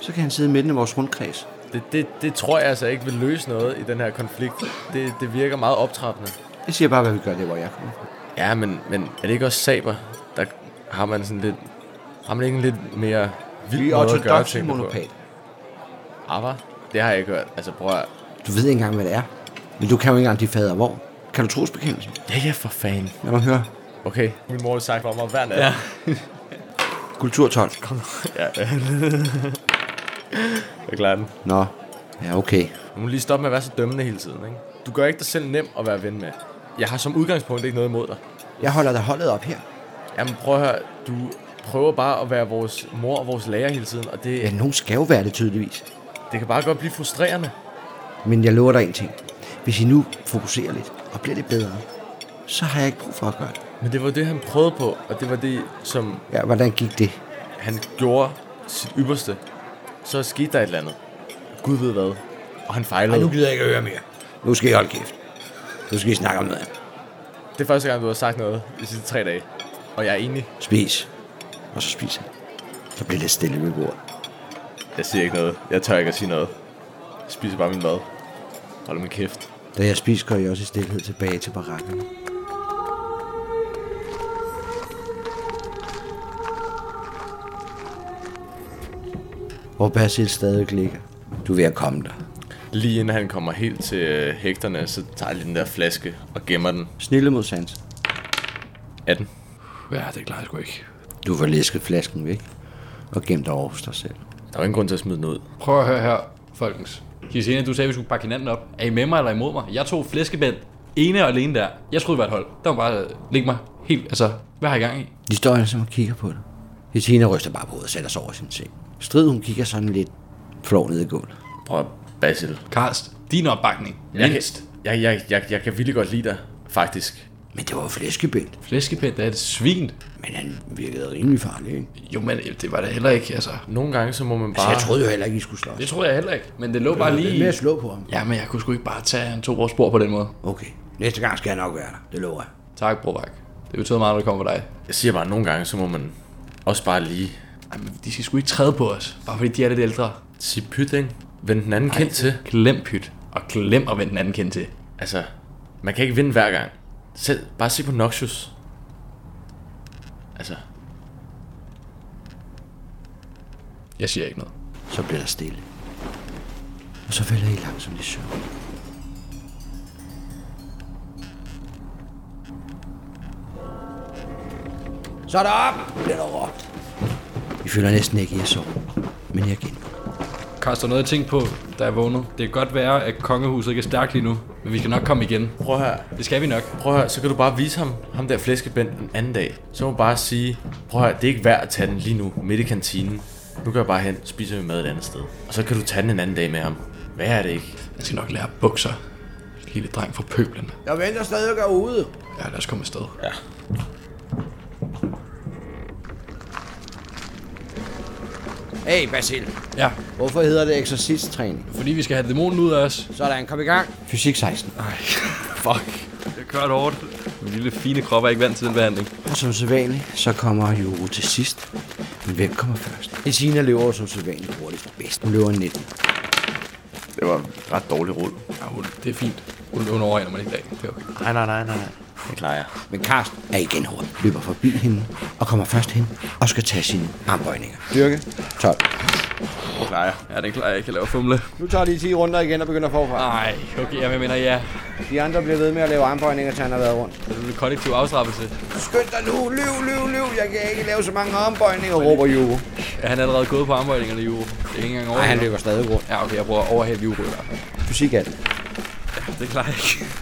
Så kan han sidde i midten af vores rundkreds.
Det, det, det tror jeg altså ikke vil løse noget i den her konflikt. Det, det virker meget optrappende.
Jeg siger bare, hvad vi gør, det er, hvor jeg kommer fra.
Ja, men, men er det ikke også saber? Der har man sådan lidt... Har man ikke en lidt mere vild
Vi er
måde at gøre
ortodoxe
tingene på?
monopat.
Abba? Det har jeg ikke hørt. Altså, prøv at...
Du ved ikke engang, hvad det er. Men du kan jo ikke engang de fader hvor. Kan du trosbekendelse?
Ja, ja, for fanden.
Lad mig høre.
Okay. Min mor har sagt for mig hver nat. Ja.
Kultur 12.
Jeg klarer den.
Nå. Ja, okay.
Nu må du lige stoppe med at være så dømmende hele tiden, ikke? Du gør ikke dig selv nem at være ven med. Jeg har som udgangspunkt ikke noget imod dig.
Jeg holder da holdet op her.
Jamen prøv at høre, du prøver bare at være vores mor og vores lærer hele tiden, og
Ja,
det,
nogen skal jo være det tydeligvis.
det kan bare godt blive frustrerende.
Men jeg lover dig en ting. Hvis I nu fokuserer lidt og bliver lidt bedre, så har jeg ikke brug for at gøre det.
Men det var det, han prøvede på, og det var det, som
Ja, hvordan gik det?
han gjorde sit ypperste. Så skete der et eller andet. Gud ved hvad. Og han fejlede.
Nu gider jeg ikke at høre mere. Nu skal I holde kæft. Nu skal I snakke om noget andet.
Det er første gang, du har sagt noget i de sidste tre dage. Og jeg er enig.
Spis. Og så spiser han. Så bliver det stille ved bordet.
Jeg siger ikke noget. Jeg tør ikke at sige noget. Jeg spiser bare min mad. Hold min kæft.
Da jeg spiser, går jeg også i stillhed tilbage til barakken. Hvor Basil stadig ligger. Du er ved at komme der.
Lige inden han kommer helt til øh, hægterne, så tager jeg lige den der flaske og gemmer den.
Snille mod sans.
18.
Ja, det klarer jeg sgu ikke.
Du får læsket flasken væk og gemt over hos dig selv.
Der var ingen grund til at smide den ud.
Prøv at høre her, folkens.
Kisene, du sagde, at vi skulle pakke hinanden op. Er I med mig eller imod mig? Jeg tog flæskebænd. Ene og alene der. Jeg troede, det var et hold. Der var bare øh, ligge mig helt, altså, hvad har I gang i?
De står alle sammen og kigger på dig. Hesina ryster bare på hovedet og sætter sig over sin seng. Strid, hun kigger sådan lidt flov ned i gulvet.
Prøv at- Basil.
Karst, din opbakning.
Jeg kan,
Mindst.
jeg, jeg, jeg, jeg kan vildt godt lide dig, faktisk.
Men det var jo flæskebændt.
Flæskebænd, det er et svin.
Men han virkede rimelig farlig, ikke?
Jo, men øh, det var det heller ikke, altså.
Nogle gange, så må man
Så
bare...
jeg troede jo heller ikke, I skulle slås.
Det tror jeg heller ikke, men det lå bare
Det er Ah. med
lige...
at slå på ham.
Ja, men jeg kunne sgu ikke bare tage en to års spor på den måde.
Okay, næste gang skal jeg nok være der. Det lover jeg.
Tak, Brovak. Det betyder meget, når det kommer fra dig.
jeg siger bare, nogle gange, så må man også bare lige
Jamen, de skal sgu ikke træde på os, bare fordi de er lidt ældre.
sige pyt, ikke? Vend den anden kind til.
Glem pyt, og glem at vende den anden kendt til.
Altså, man kan ikke vinde hver gang. Selv, bare se på Noxus. Altså,
Jeg siger ikke noget.
Så bliver der stille. Og så falder I langsomt i søvn. Så er der op, bliver der råbt. I føler næsten ikke, at jeg sover. Men jeg igen.
Karst, der er noget, jeg tænkte på, da jeg vågnede. Det kan godt være, at kongehuset ikke er stærkt lige nu, men vi skal nok komme igen.
prøv at høre,
Det skal vi nok.
prøv at høre, så kan du bare vise ham, ham der flæskebænd den anden dag. Så må du bare sige, prøv at høre, det er ikke værd at tage den lige nu, midt i kantinen. Nu går jeg bare hen, spiser min mad et andet sted. Og så kan du tage den en anden dag med ham. Hvad er det ikke?
Jeg skal nok lære bukser. Lille dreng fra pøblen.
Jeg venter stadig herude.
Ja, lad os komme afsted.
Ja.
Hey Basil,
Ja,
hvorfor hedder det eksorcisttræning?
fordi vi skal have dæmonen ud af os.
Sådan, kom i gang. Fysik 16.
Det kørt hårdt. Min lille fine krop er ikke vant til den behandling.
Og som sædvanligt, så kommer Juro til sidst. Men hvem kommer først? Esina løber som sædvanligt hurtigst bedst. Hun løber 19.
Det var ret dårlig rull.
Ja, det er fint. Nu nu overhænder man ikke dag. Det er okay.
Nej, nej, nej, nej. nej. Det klarer jeg.
Men Karsten er igen hurtig, løber forbi hende og kommer først hen og skal tage sine armbøjninger. Styrke. 12.
Det klarer jeg.
Ja, den klarer jeg ikke at lave fumle.
Nu tager de 10 runder igen og begynder forfra.
Nej, okay, jeg mener ja.
De andre bliver ved med at lave armbøjninger, til han har været rundt.
Det er en kollektiv afstraffelse.
Skynd dig nu, løv, løv, løv. Jeg kan ikke lave så mange armbøjninger, råber Juro.
Er han allerede gået på armbøjningerne i uge? Det er ikke engang over.
Nej, han løber stadig rundt.
Ja, okay, jeg prøver at overhælde Juro i hvert fald.
Fysik er det.
Det klarer jeg ikke.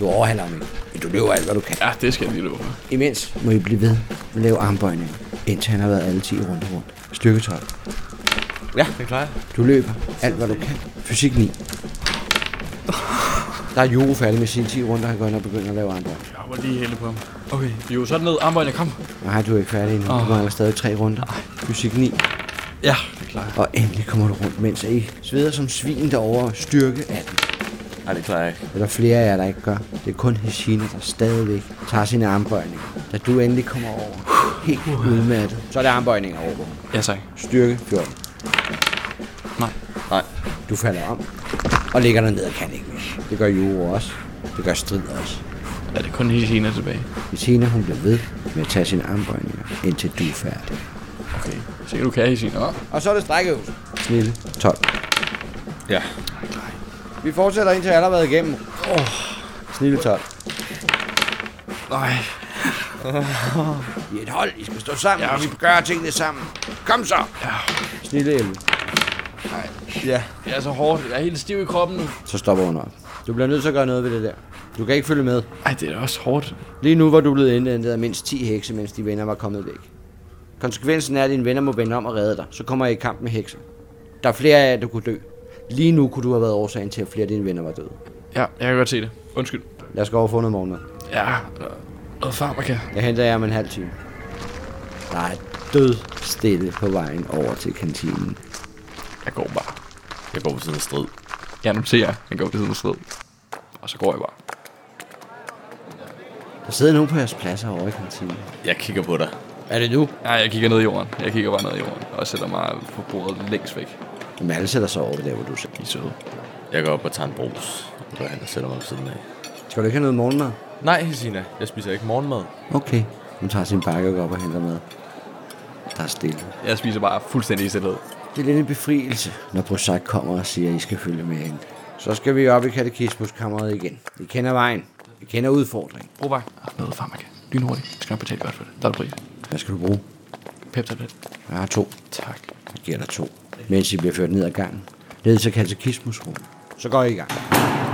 Du overhaler ham ikke, men du løber alt, hvad du kan.
Ja, det skal jeg lige løbe.
Imens må I blive ved med at lave armbøjninger, indtil han har været alle 10 runder rundt. Styrke 12.
Det klarer jeg.
Du løber alt, hvad du kan. Fysik 9. Der er Juro færdig med sine 10 runder, han går ind og begynder at lave armbøjninger.
Jeg må lige hælde på ham. Okay, Juro, så er den ned. Armbøjninger, kom.
Nej, du er ikke færdig endnu. Du mangler stadig 3 runder. Fysik 9.
Ja, det klarer jeg.
Og endelig kommer du rundt, mens I sveder som svin derovre. Styrke 18.
Nej, det klarer jeg ikke.
Er der flere af jer, der ikke gør? Det er kun Hishina, der stadigvæk tager sine armbøjninger. Da du endelig kommer over, helt udmattet, så er det armbøjninger over.
Ja, tak.
Styrke 14.
Nej.
Nej.
Du falder om og ligger derned og kan ikke mere. Det gør Juro også. Det gør Strid også.
Er det kun hele Hina tilbage?
Hishina, hun bliver ved med at tage sine armbøjninger, indtil du er færdig.
Okay. Se, du kan, Hina. Åh,
Og så er det strækkeøvelsen. Snille 12.
Ja.
Vi fortsætter indtil jeg har været igennem. Oh. Snille 12.
nej.
I er et hold. I skal stå sammen. Ja, vi gør tingene sammen. Kom så. Ja. Snille 11.
Det er så hårdt. Jeg er helt stiv i kroppen nu.
Så stopper hun op. Du bliver nødt til at gøre noget ved det der. Du kan ikke følge med.
Ej, det er da også hårdt.
Lige nu var du blevet indhentet af mindst 10 hekse, mens de venner var kommet væk. Konsekvensen er, at dine venner må vende om og redde dig. Så kommer jeg i kamp med hekser. Der er flere af jer, der kunne dø. Lige nu kunne du have været årsagen til, at flere af dine venner var døde.
Ja, jeg kan godt se det. Undskyld.
Lad os gå over og få noget morgenmad.
Ja, og- og farmaka.
Jeg henter jer om en halv time. Der er død stille på vejen over til kantinen.
Jeg går bare.
Jeg går på siden af strid.
Jeg noterer. Jeg går på siden af sted. Og så går jeg bare.
Der sidder nogen på jeres pladser over i kantinen.
Jeg kigger på dig.
Er det nu?
Nej, jeg kigger ned i jorden. Jeg kigger bare ned i jorden. Og sætter mig på bordet længst væk.
Jamen alle sætter sig over der, hvor du sidder.
I er søde.
Jeg går op og tager en brus. Og går hen og sætter mig på siden af.
Skal du ikke have noget morgenmad?
Nej, Hesina. Jeg spiser ikke morgenmad.
Okay. Hun tager sin pakke og går op og henter mad. Der er stille.
Jeg spiser bare fuldstændig i stillhed.
Det er lidt en befrielse, når Brosak kommer og siger, at I skal følge med ind. Så skal vi op i katekismuskammeret igen. Vi kender vejen. Vi kender udfordringen.
Brobak. Noget farmaka. Lynhurtigt. Du skal nok betale godt for det. Der er det pris.
Hvad skal du bruge?
Pep tablet.
Jeg har to.
Tak.
Jeg giver dig to. Mens I bliver ført ned ad gangen. Ned til katekismusrummet. Så går I i gang.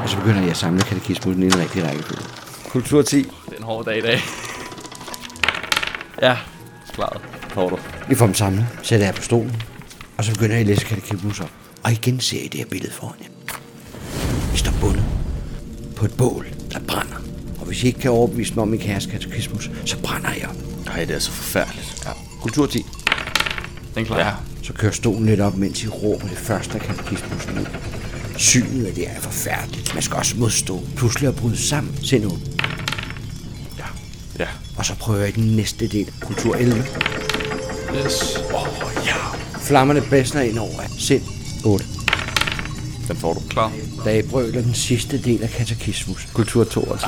Og så begynder jeg at samle katekismusen i en rigtig rækkefølge. Kultur 10.
Det er en hård dag i dag. ja, klaret.
Får du?
I får dem samlet, sætter jer på stolen, og så begynder I at læse katekismus op. Og igen ser I det her billede foran jer. I står bundet på et bål, der brænder. Og hvis I ikke kan overbevise mig om, I kan jeres katekismus, så brænder I op.
Nej, det er så forfærdeligt. Ja.
Kultur 10.
Den klarer jeg.
Så kører stolen lidt op, mens I råber det første af katekismusen ud. Synet af det er forfærdeligt. Man skal også modstå pludselig at bryde sammen. Se nu. Ja.
Ja.
Og så prøver I den næste del. Kultur 11.
Yes. Åh, oh, ja.
Flammerne blæsner ind over. jer. Sind 8.
Den får du.
Klar.
Da I brøler den sidste del af katekismus. Kultur 22.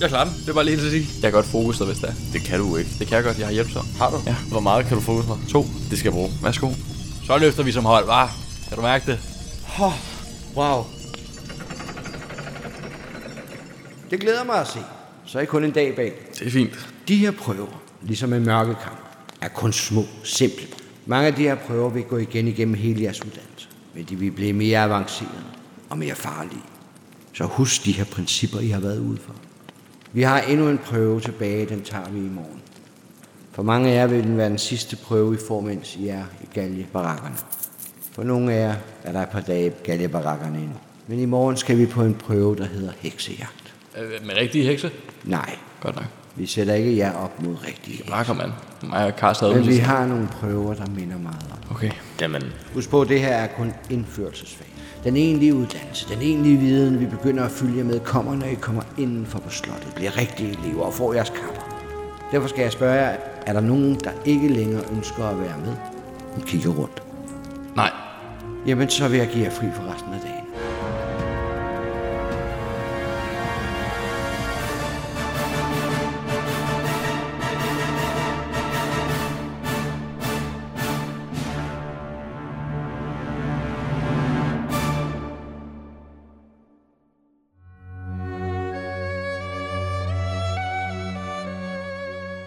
Jeg klarer den. Det er bare lige til at sige. Jeg kan godt fokusere, hvis det er.
Det kan du ikke.
Det kan jeg godt. Jeg har hjælpsom.
Har du?
Ja.
Hvor meget kan du fokus mig?
To.
Det skal jeg bruge.
Værsgo. Så løfter vi som hold, var. Kan du mærke det?
Wow.
Det glæder mig at se. Så er I kun en dag bag.
Det er fint.
De her prøver, ligesom en mørkekamp, er kun små, simple. Mange af de her prøver vil gå igen igennem hele jeres uddannelse, men de vil blive mere avancerede og mere farlige. Så husk de her principper, I har været ude for. Vi har endnu en prøve tilbage, den tager vi i morgen. For mange af jer vil den være den sidste prøve, I får, mens I er i galjebarakkerne. For nogle af jer er der et par dage i galjebarakkerne endnu. Men i morgen skal vi på en prøve, der hedder heksejagt.
Øh, med rigtige hekse?
Nej,
Godt nok.
vi sætter ikke jer op mod rigtige
Blakker, mand. Mig og Karsten havde
Men vi
udvist.
har nogle prøver, der minder meget om.
Okay.
Jamen,
Husk på, at det her er kun indførelsesfag. Den egentlige uddannelse, den egentlige viden, vi begynder at følge med, kommer, når I kommer indenfor på slottet, bliver rigtige elever og får jeres kapper. Derfor skal jeg spørge jer, er der nogen, der ikke længere ønsker at være med? Hun kigger rundt.
Nej.
Jamen, så vil jeg give jer fri for resten af dagen.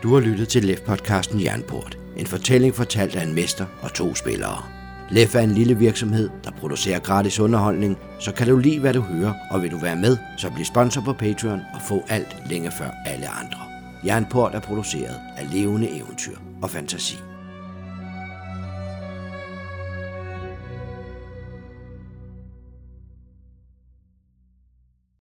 Du har lyttet til Lef-podcasten Jernport. En fortælling fortalt af en mester og to spillere. Lef er en lille virksomhed, der producerer gratis underholdning, så kan du lide, hvad du hører, og vil du være med, så bliv sponsor på Patreon og få alt længe før alle andre. Jernport er produceret af levende eventyr og fantasi.